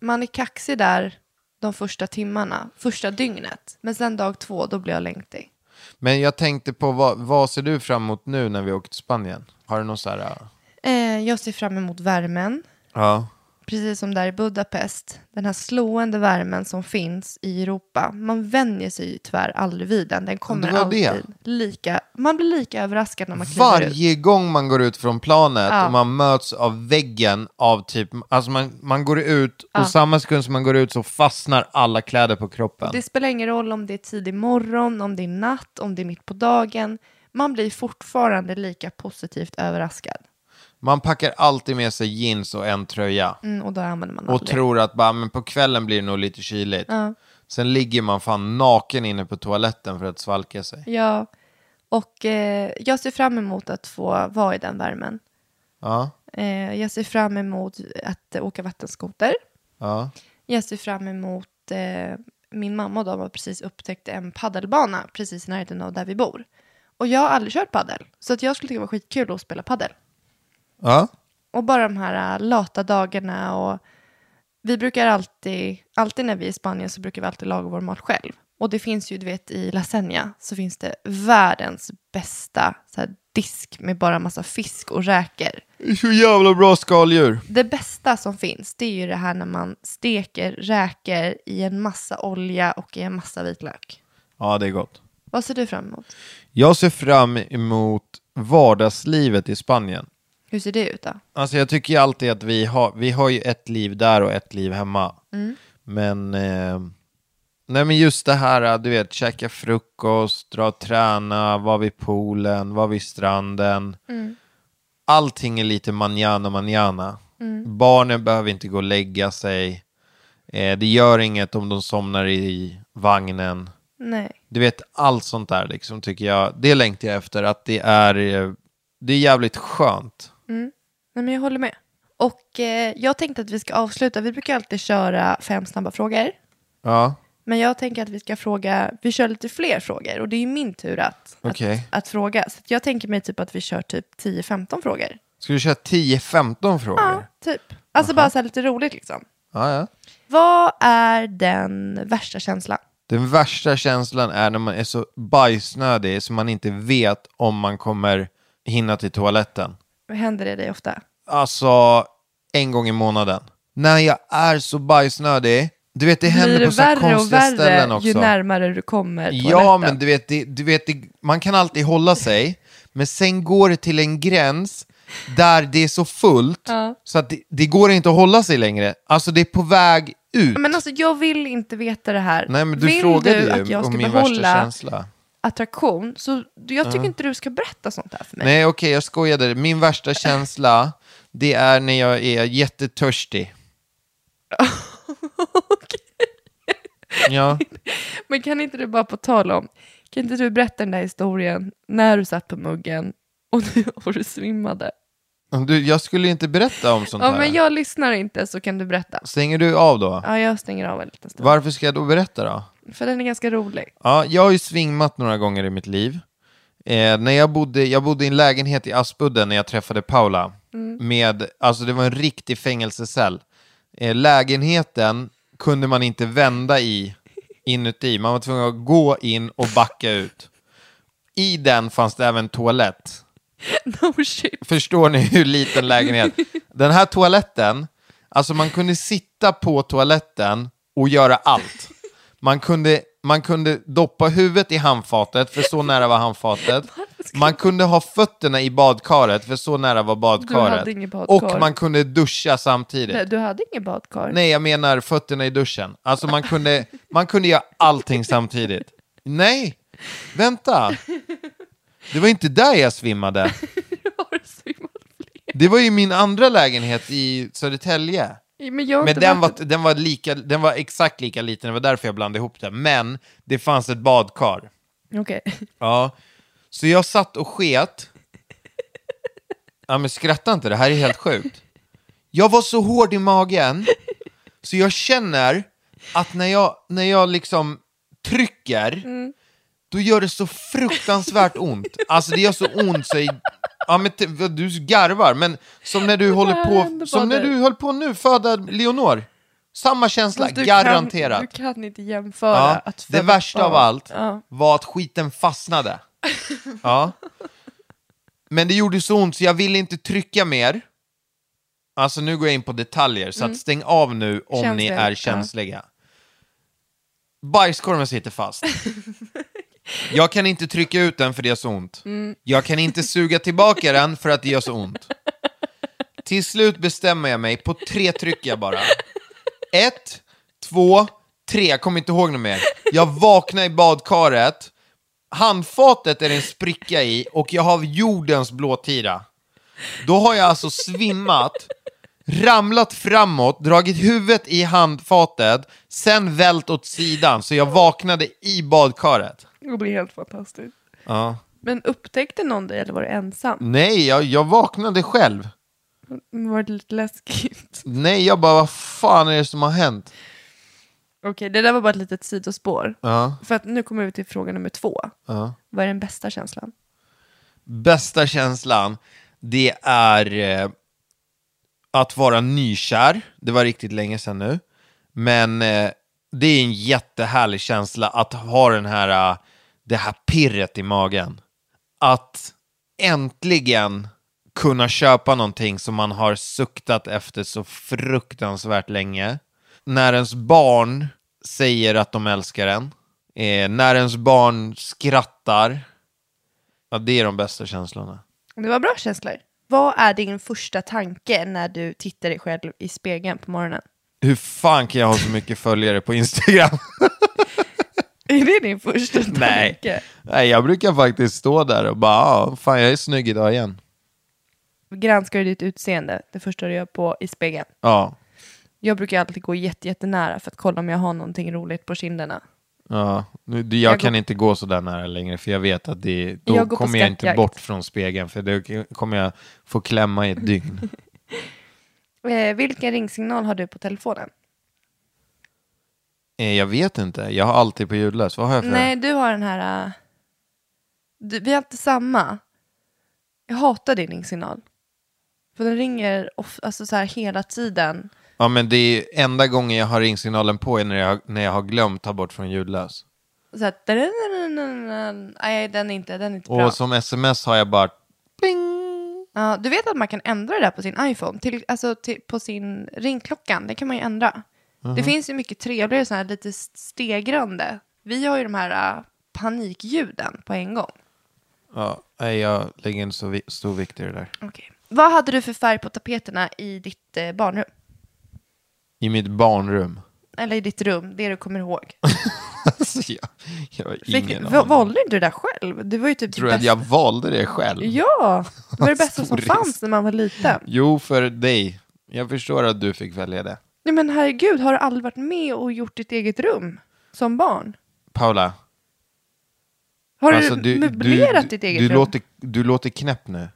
Man är kaxig där de första timmarna, första dygnet. Men sen dag två, då blir jag längtig.
Men jag tänkte på, vad, vad ser du fram emot nu när vi åker till Spanien? Har du någon så här... eh,
Eh, jag ser fram emot värmen,
Ja.
precis som där i Budapest. Den här slående värmen som finns i Europa. Man vänjer sig ju tyvärr aldrig vid den. Den kommer
Det var det.
alltid lika, man blir lika överraskad när man kliver ut.
Varje gång man går ut från planet
Ja.
och man möts av väggen av typ, alltså man, man går ut och samma sekund som man går ut så fastnar alla kläder på kroppen.
Det spelar ingen roll om det är tidig morgon, om det är natt, om det är mitt på dagen. Man blir fortfarande lika positivt överraskad.
Man packar alltid med sig jeans och en tröja
Mm, och då använder man
och
aldrig.
tror att bara, men på kvällen blir det nog lite kyligt. Sen ligger man fan naken inne på toaletten för att svalka sig.
Ja, och eh, jag ser fram emot att få vara i den värmen.
Ja,
Eh, jag ser fram emot att eh, åka vattenskoter.
ja.
Jag ser fram emot... Eh, min mamma och de har precis upptäckt en paddelbana precis i närheten av där vi bor. Och jag har aldrig kört paddel, så att jag skulle tycka det var skitkul att spela paddel.
ja.
Och bara de här äh, lata dagarna och vi brukar alltid, alltid när vi är i Spanien så brukar vi alltid laga vår mat själv. Och det finns ju, du vet i lasagna så finns det världens bästa så här, disk med bara massa fisk och räkor.
Så jävla bra skaldjur.
Det bästa som finns det är ju det här när man steker räkor i en massa olja och i en massa vitlök.
Ja, det är gott.
Vad ser du fram emot?
Jag ser fram emot vardagslivet i Spanien.
Hur ser det ut då?
Alltså jag tycker ju alltid att vi har, vi har ju ett liv där och ett liv hemma. Men eh, Nej men just det här, äh, du vet, käka frukost, dra och träna, vara vid poolen, vara vid stranden. Allting är lite manjana manjana. Barnen behöver inte gå och lägga sig. Eh, det gör inget om de somnar i vagnen.
Nej.
Du vet, allt sånt där liksom tycker jag, det längtar jag efter, att det är, eh, det är jävligt skönt.
Nej, men jag håller med. Och eh, jag tänkte att vi ska avsluta. Vi brukar alltid köra fem snabba frågor.
Ja,
Men jag tänker att vi ska fråga, vi kör lite fler frågor. Och det är ju min tur att,
Okej.
att, att fråga. Så att jag tänker mig typ att vi kör typ 10-15 frågor.
ska du köra 10-15 frågor?
Ja, typ. Alltså bara så här lite roligt liksom.
Ja, ja.
Vad är den värsta känslan?
Den värsta känslan är när man är så bajsnödig så man inte vet om man kommer hinna till toaletten.
Händer det dig ofta?
Alltså, en gång i månaden. När jag är så bajsnödig, du vet det händer
Blir
på
det
så här
värre och
konstiga ställen
värre
också.
ju närmare du kommer toaletten?
Ja, men du vet, det, du vet det, man kan alltid hålla sig, men sen går det till en gräns där det är så fullt så att det, det går inte att hålla sig längre. Alltså det är på väg ut.
Men alltså jag vill inte veta det här.
Nej, men du
vill
frågade
du
ju
att jag
om
ska
min värsta
behålla
känsla.
attraktion? Så du- jag tycker inte du ska berätta sånt här för mig.
Nej, okej, jag skojade. Min värsta känsla, det är när jag är jättetörstig. Ja,
Men kan inte du bara på tal om, kan inte du berätta den där historien när du satt på muggen och du, och du svimmade?
du, jag skulle inte berätta om sånt
Ja,
här.
men jag lyssnar inte så kan du berätta.
Stänger du av då?
Ja, jag stänger av en liten stund.
Varför ska jag då berätta då?
För den är ganska rolig.
Ja, jag har ju svingmat några gånger i mitt liv. Eh, när jag, bodde, jag bodde i en lägenhet i Aspudden när jag träffade Paula. Med, alltså det var en riktig fängelsecell. Eh, lägenheten kunde man inte vända i inuti. Man var tvungen att gå in och backa ut. I den fanns det även toalett.
No Oh, shit.
Förstår ni hur liten lägenhet? Den här toaletten, alltså man kunde sitta på toaletten och göra allt. Man kunde, man kunde doppa huvudet i handfatet, för så nära var handfatet. Man kunde ha fötterna i badkaret, för så nära var badkaret.
hade inget badkar.
Och man kunde duscha samtidigt.
Nej, Du hade ingen badkar?
Nej, jag menar fötterna i duschen. Alltså man kunde, man kunde göra allting samtidigt. Nej, vänta. Det var inte där jag svimmade.
Du har svimmat fler.
Det var ju min andra lägenhet i Södertälje.
Men, jag har
Men
inte
den var,
varit-
den, var lika, den var exakt lika liten, det var därför jag blandade ihop det. Men det fanns ett badkar.
Okej.
Ja. Så jag satt och sket. Ja men skratta inte, det här är helt sjukt. Jag var så hård i magen, så jag känner att när jag, när jag liksom trycker, då gör det så fruktansvärt ont. Alltså det gör så ont så jag, ja, men t- vad du garvar, men som när du håller
här
på,
händer
som
bara
när
nu.
du höll på nu, föda Leonor. Samma känsla,
Fast du
garanterat.
Kan, du kan inte jämföra
Ja,
att
det
föda
värsta av
barn.
allt
Ja.
var att skiten fastnade. ja. Men det gjorde så ont så jag ville inte trycka mer. Alltså nu går jag in på detaljer, så att stäng av nu om ni
Mm. Känsliga.
är
Ja.
känsliga. Bajskorven sitter fast. jag kan inte trycka ut den för det gör så ont.
Mm.
Jag kan inte suga tillbaka den för att det gör så ont. Till slut bestämmer jag mig, på tre trycker jag bara. Ett, två, tre, jag kommer inte ihåg något mer. Jag vaknar i badkaret, handfatet är det en spricka i och jag har jordens blåtira. Då har jag alltså svimmat, ramlat framåt, dragit huvudet i handfatet, sen vält åt sidan så jag vaknade i badkaret.
Det blir helt fantastiskt.
Ja.
Men upptäckte någon dig eller var du ensam?
Nej, jag, jag vaknade själv.
Var det lite läskigt?
Nej, jag bara, vad fan är det som har hänt?
Okej, det där var bara ett litet sidospår.
Ja.
För att nu kommer vi till fråga nummer två.
Ja.
Vad är den bästa känslan?
bästa känslan, det är eh, att vara nykär. Det var riktigt länge sedan nu. Men eh, det är en jättehärlig känsla att ha den här, eh, det här pirret i magen. Att äntligen kunna köpa någonting som man har suktat efter så fruktansvärt länge. När ens barn säger att de älskar en. Eh, när ens barn skrattar. Ja, det är de bästa känslorna.
Det var bra känslor. Vad är din första tanke när du tittar dig själv i spegeln på morgonen?
Hur fan kan jag ha så mycket följare på Instagram?
Är det din första tanke?
Nej. Nej, jag brukar faktiskt stå där och bara, ah, fan jag är snygg idag igen.
Granskar du ditt utseende det första du gör på i spegeln?
Ja,
Jag brukar alltid gå jätte, jättenära för att kolla om jag har någonting roligt på kinderna.
ja. Nu, det- jag,
Jag
kan
går-
inte gå så där nära längre för jag vet att det, då
Jag går på
kommer jag inte
skattjakt.
bort från spegeln för då kommer jag få klämma i ett dygn.
Eh, vilken ringsignal har du på telefonen?
Eh, jag vet inte, jag har alltid på ljudlös. Vad har jag för
Nej, du har den här... eh, Du, vi har inte samma. Jag hatar din ringsignal. För den ringer of, alltså så här hela tiden.
Ja, men det är enda gången jag har ringsignalen på är när jag, när jag har glömt ta bort från ljudlös.
Så här, dadadadadadadadad. Nej, den är inte, den är inte bra.
Och som sms har jag bara
Ja, du vet att man kan ändra det där på sin iPhone, till, alltså till, på sin ringklockan. Det kan man ju ändra. Det finns ju mycket trevligare sådana här lite stegrande. Vi har ju de här äh, panikljuden på en gång.
Ja, nej, jag lägger inte så vi- stor vikt i det där.
Okay. Vad hade du för färg på tapeterna i ditt eh, barnrum?
I mitt barnrum.
Eller i ditt rum, det du kommer ihåg.
Alltså, jag, jag har
Fick,
ingen
va-
aning.
valde inte du det där själv? Det var ju typ
Tror
det
du att
bästa.
jag valde det själv?
Ja, det var det bästa som
Stor risk.
fanns när man var liten.
Jo, för dig. Jag förstår att du fick välja det.
Nej men herregud, har du aldrig varit med och gjort ditt eget rum som barn?
Paula,
Har
alltså,
du
du,
möblerat
du,
ditt eget
du,
rum?
låter, du låter knäpp nu.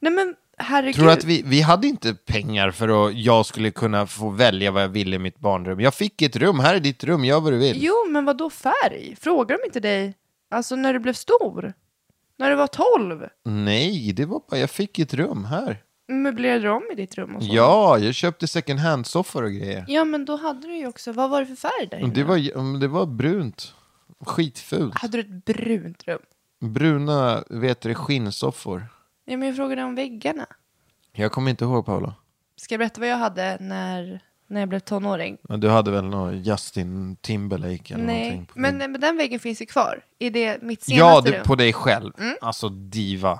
Nej men herregud.
Tror du att vi, vi hade inte pengar för att jag skulle kunna få välja vad jag ville i mitt barnrum? Jag fick ett rum, här är ditt rum, gör vad du vill.
Jo men vad då färg? Frågar de inte dig? Alltså när du blev stor? När du var 12?
Nej, det var bara, jag fick ett rum här.
Möblerade de om i ditt rum och så?
Ja, jag köpte second hand-soffor och grejer.
Alltså. Ja men då hade du ju också, vad var det för färg där inne?
Det var, det var brunt. Skitfult.
Hade du ett brunt rum?
Bruna, vet du, skinnsoffor.
Ja men jag frågade om väggarna.
Jag kommer inte ihåg, Paula.
Ska jag berätta vad jag hade när, när jag blev tonåring?
Men du hade väl någon Justin Timberlake eller
Nej,
någonting? på
men,
din-
men den väggen finns ju kvar. I det mitt
Ja,
senaste Mm.
du,
rum.
på dig själv. Alltså diva.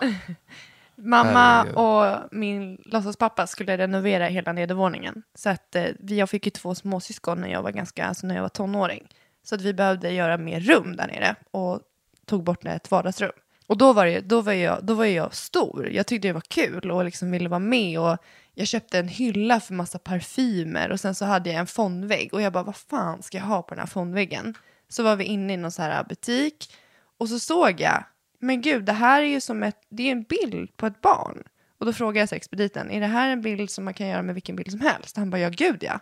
Mamma
Herregud.
och min låtsaspappa skulle renovera hela nedervåningen. Så att eh, vi- jag fick ju två småsyskon när jag var ganska, alltså när jag var tonåring. Så att vi behövde göra mer rum där nere och tog bort ett vardagsrum. Och då var, det, då, var jag, då var jag stor. Jag tyckte det var kul och liksom ville vara med. Och jag köpte en hylla för massa parfymer och sen så hade jag en fondvägg. Och jag bara, vad fan ska jag ha på den här fondväggen? Så var vi inne i någon så här butik och så såg jag, men gud, det här är ju som ett, det är en bild på ett barn. Och då frågade jag så expediten, är det här en bild som man kan göra med vilken bild som helst? Han bara, ja gud ja.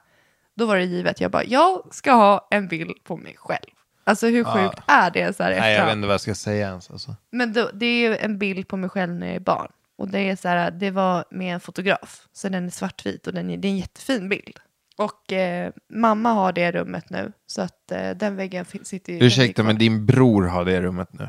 Då var det givet, jag bara, jag ska ha en bild på mig själv. Alltså hur sjukt är det så här
Nej, jag
efterhand?
vet inte vad jag ska säga ens. Alltså.
Men då, det är ju en bild på mig själv när jag är barn. Och det är så här, det var med en fotograf. Så den är svartvit och den är, det är en jättefin bild. Och eh, mamma har det rummet nu. Så att eh, den väggen fin- sitter ju... den ligger
Ursäkta,
kvar.
men din bror har det rummet nu.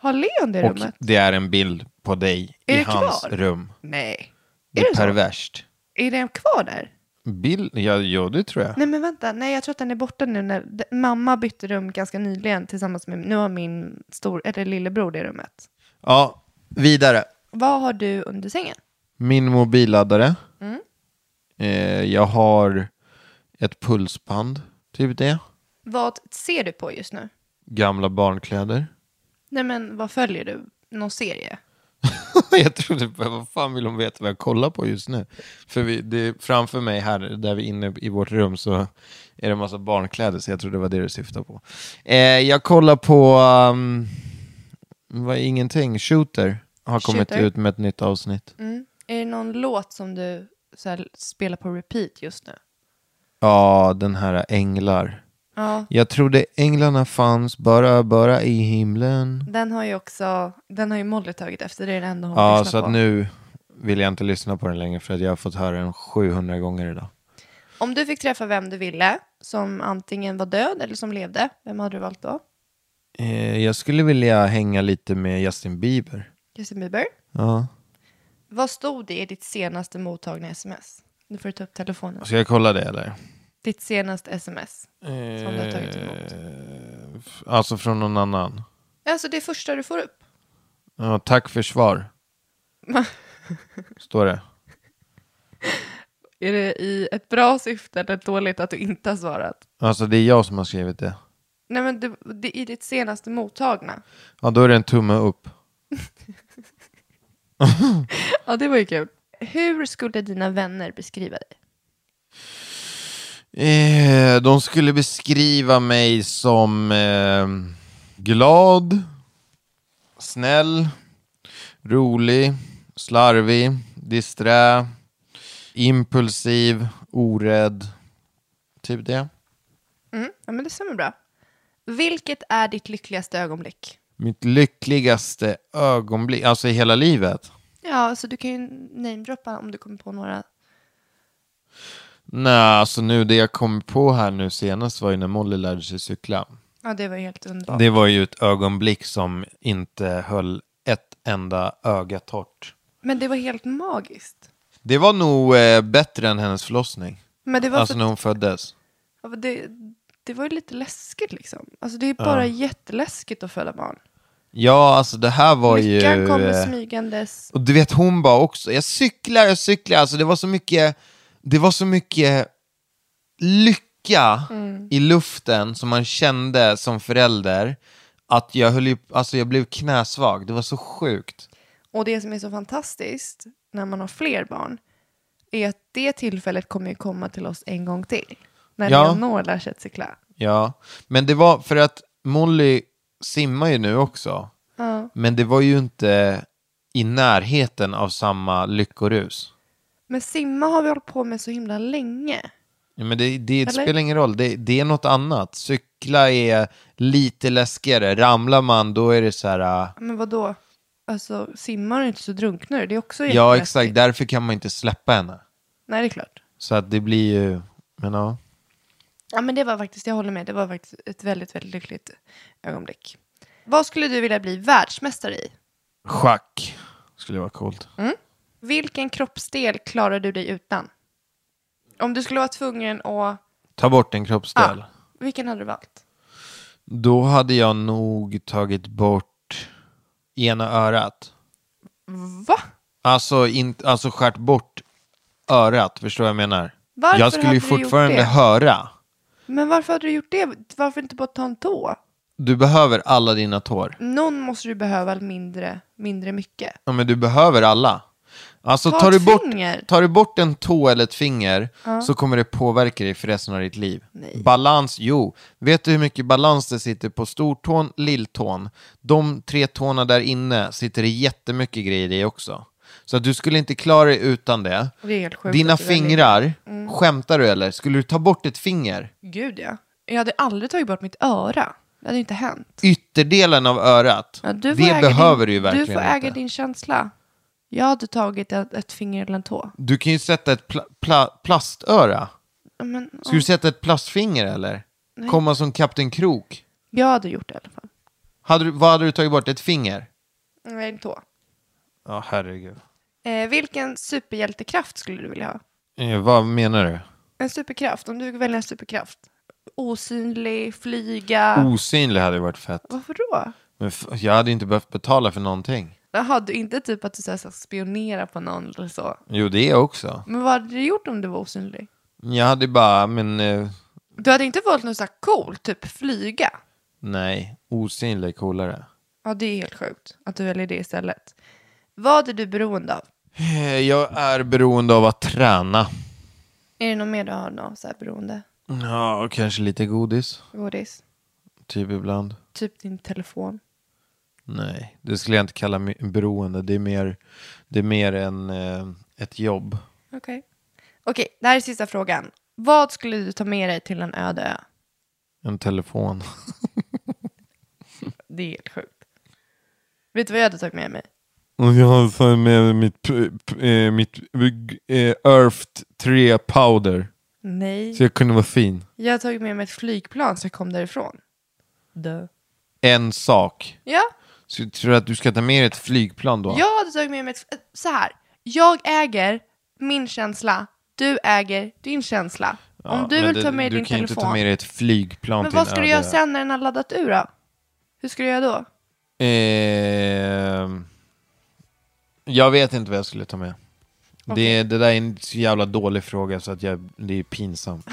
Har Leon det
Och
rummet?
det är en bild på dig
Är
i
det
hans
kvar?
rum.
Nej.
Det
Är
är,
det så?
perverst.
Är den kvar där?
Bild? Ja, ja, det tror jag.
Nej men vänta, nej jag tror att den är borta nu när d- mamma bytte rum ganska nyligen tillsammans med, nu har min stor, eller lillebror det rummet.
Ja, vidare.
Vad har du under sängen?
Min mobilladdare.
Mm.
Eh, jag har ett pulsband, typ det.
Vad ser du på just nu?
Gamla barnkläder.
Nej men vad följer du? Någon serie?
jag trodde, bara, vad fan vill de veta vad jag kollar på just nu? För vi, det, framför mig här, där vi är inne i vårt rum, så är det en massa barnkläder, så jag tror det var det du syftade på. Eh, jag kollar på, um, vad, ingenting, Shooter har kommit
Shooter.
ut med ett nytt avsnitt.
Är det någon låt som du så här, spelar på repeat just nu?
Ja, den här Änglar.
Ja,
Jag trodde änglarna fanns bara, bara i himlen.
den har ju också, den har ju Molly tagit efter, det är den enda hon
Ja,
lyssnar
så att
på.
nu vill jag inte lyssna på den längre för att jag har fått höra den 700 gånger idag.
Om du fick träffa vem du ville, som antingen var död eller som levde, vem hade du valt då?
Eh, jag skulle vilja hänga lite med Justin Bieber.
Justin Bieber?
Ja.
Vad stod det i ditt senaste mottagna sms? Nu får du ta upp telefonen.
Ska jag kolla det eller? Eh,
Ditt senaste sms som du har tagit emot.
Eh. F- Alltså från någon annan.
Alltså det första du får upp.
Ja, tack för svar. Står det.
Är det i ett bra syfte eller ett dåligt att du inte har svarat?
Alltså det är jag som har skrivit det.
Nej, men det, det, i ditt senaste mottagna.
Ja, då är det en tumme upp.
Ja, det var ju kul. Hur skulle dina vänner beskriva dig?
Eh, de skulle beskriva mig som eh, glad, snäll, rolig, slarvig, disträ, impulsiv, orädd. Typ det.
Mm, ja, men det stämmer bra. Vilket är ditt lyckligaste ögonblick?
Mitt lyckligaste ögonblick, alltså i hela livet.
Ja, så du kan ju namedroppa om du kommer på några.
Nej, alltså nu det jag kom på här nu senast var ju när Molly lärde sig cykla.
Ja, det var ju helt underbart.
Det var ju ett ögonblick som inte höll ett enda öga torrt.
Men det var helt magiskt.
Det var nog eh, bättre än hennes förlossning.
Men det var,
Alltså
för,
när hon föddes.
ja, men det, det var ju lite läskigt liksom. Alltså det är bara jätteläskigt att föda barn.
Ja, alltså det här var ju...
Lyckan kommer
eh,
smygandes.
Och du vet, hon bara också, jag cyklar, jag cyklar. Alltså det var så mycket, det var så mycket lycka i luften som man kände som förälder. Att jag höll ju, alltså jag blev knäsvag. Det var så sjukt.
Och det som är så fantastiskt när man har fler barn är att det tillfället kommer ju komma till oss en gång till. När
Ja.
Leonor lär sig att cykla.
Ja, men det var för att Molly simmar ju nu också.
Ja.
Men det var ju inte i närheten av samma lyckorus.
Men simma har vi hållit på med så himla länge.
Ja, men det, det
Eller?
spelar ingen roll, det, det är något annat. Cykla är lite läskigare, ramlar man då är det så här... äh,
Men vad då? Alltså simmar du inte så drunknar du. Det är också
Ja,
jätteläskigt.
exakt, därför kan man inte släppa henne.
Nej, det är klart.
Så att det blir ju... Men ja.
Ja, men det var faktiskt, jag håller med, det var faktiskt ett väldigt, väldigt lyckligt ögonblick. Vad skulle du vilja bli världsmästare i?
Schack skulle vara coolt.
Mm. Vilken kroppsdel klarar du dig utan? Om du skulle vara tvungen att... Ah,
Ta bort en kroppsdel.
vilken hade du valt?
Då hade jag nog tagit bort ena örat.
Va?
Alltså, in, alltså skärt bort örat, förstår vad jag menar?
Varför
jag skulle
hade
ju
du gjort
fortfarande
det?
höra.
Men varför hade du gjort det? Varför inte bara ta en tå?
Du behöver alla dina tår.
Någon måste du behöva mindre, mindre mycket.
Ja, men du behöver alla. Alltså
Ta
tar du,
ett
bort,
finger.
tar du bort en tå eller ett finger så kommer det påverka dig för resten av ditt liv.
Nej.
Balans, jo. Vet du hur mycket balans det sitter på stortån, lilltån? De tre tårna där inne sitter det jättemycket grejer i också. Så att du skulle inte klara dig utan det.
Det är helt sjukt
Dina
att du väljer-
fingrar,
Mm.
skämtar du eller? Skulle du ta bort ett finger?
Gud ja. Jag hade aldrig tagit bort mitt öra. Det hade ju inte hänt.
Ytterdelen av örat,
Ja, du får
det
äga
behöver
din,
du ju verkligen
Du får äga
inte.
din känsla. Jag hade tagit ett, ett finger eller en tå.
Du kan ju sätta ett pla- pla- plastöra.
Ja, Men, ja.
Ska du sätta ett plastfinger eller? Komma som Kapten Krok?
Jag hade gjort det i alla fall.
Hade du, vad hade du tagit bort? Ett finger?
Nej, en tå.
Ja, herregud.
Eh, vilken superhjältekraft skulle du vilja ha?
Eh, vad menar du?
En superkraft, om du fick välja en superkraft. Osynlig, flyga.
Mm. Osynlig hade ju varit fett.
Varför då?
Men f- jag hade ju inte behövt betala för någonting.
Jaha, du inte typ att du så här ska spionera på någon eller så.
Jo, det också.
Men vad hade du gjort om du var osynlig?
Jag hade ju bara, men eh,
Du hade inte valt något så här coolt, typ flyga.
nej, osynlig är coolare.
Ja, det är helt sjukt att du väljer det istället. Vad är du beroende av?
Eh, jag är beroende av att träna.
Är det något mer du har något så här beroende?
Ja, och kanske lite godis.
Godis?
Typ ibland.
Typ din telefon?
Nej, det skulle jag inte kalla mi- beroende. Det är mer, det är mer en, eh, ett jobb.
Okej. Okej, det här är sista frågan. Vad skulle du ta med dig till en öde ö?
En telefon.
Det är helt sjukt. Vet du vad jag hade tagit med mig?
Och jag har tagit med mitt, p- p- eh, mitt eh, Earth 3 powder.
Nej.
Så jag kunde vara fin.
Jag har tagit med mig ett flygplan så jag kom därifrån. Dö.
En sak.
Ja,
Så jag tror att du ska ta med dig ett flygplan då?
jag hade tagit med mig ett... Så här. Jag äger min känsla. Du äger din känsla.
Ja,
Om du
men
vill
det-
ta med
Du
din
kan ju inte
telefon.
ta med dig ett flygplan
men
till
vad
en
ska du
öde
göra
ö.
sen när den har laddat ur då? Hur ska du göra då?
Ehm, jag vet inte vad jag skulle ta med. Det, det där är en så jävla dålig fråga så att jag, det är pinsamt.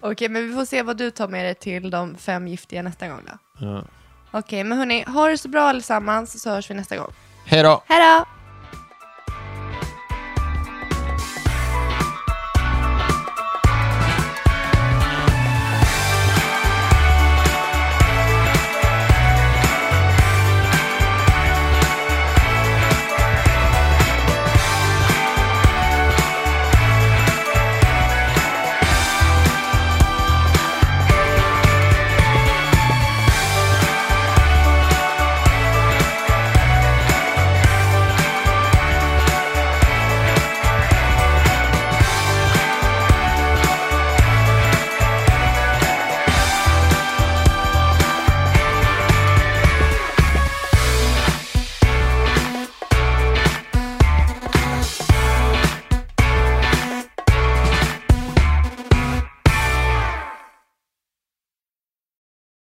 Okej, men vi får se vad du tar med dig till de fem giftiga nästa gång då. Okej, men hörni, ha det så bra allesammans så hörs vi nästa gång.
Hej då!
Hej då!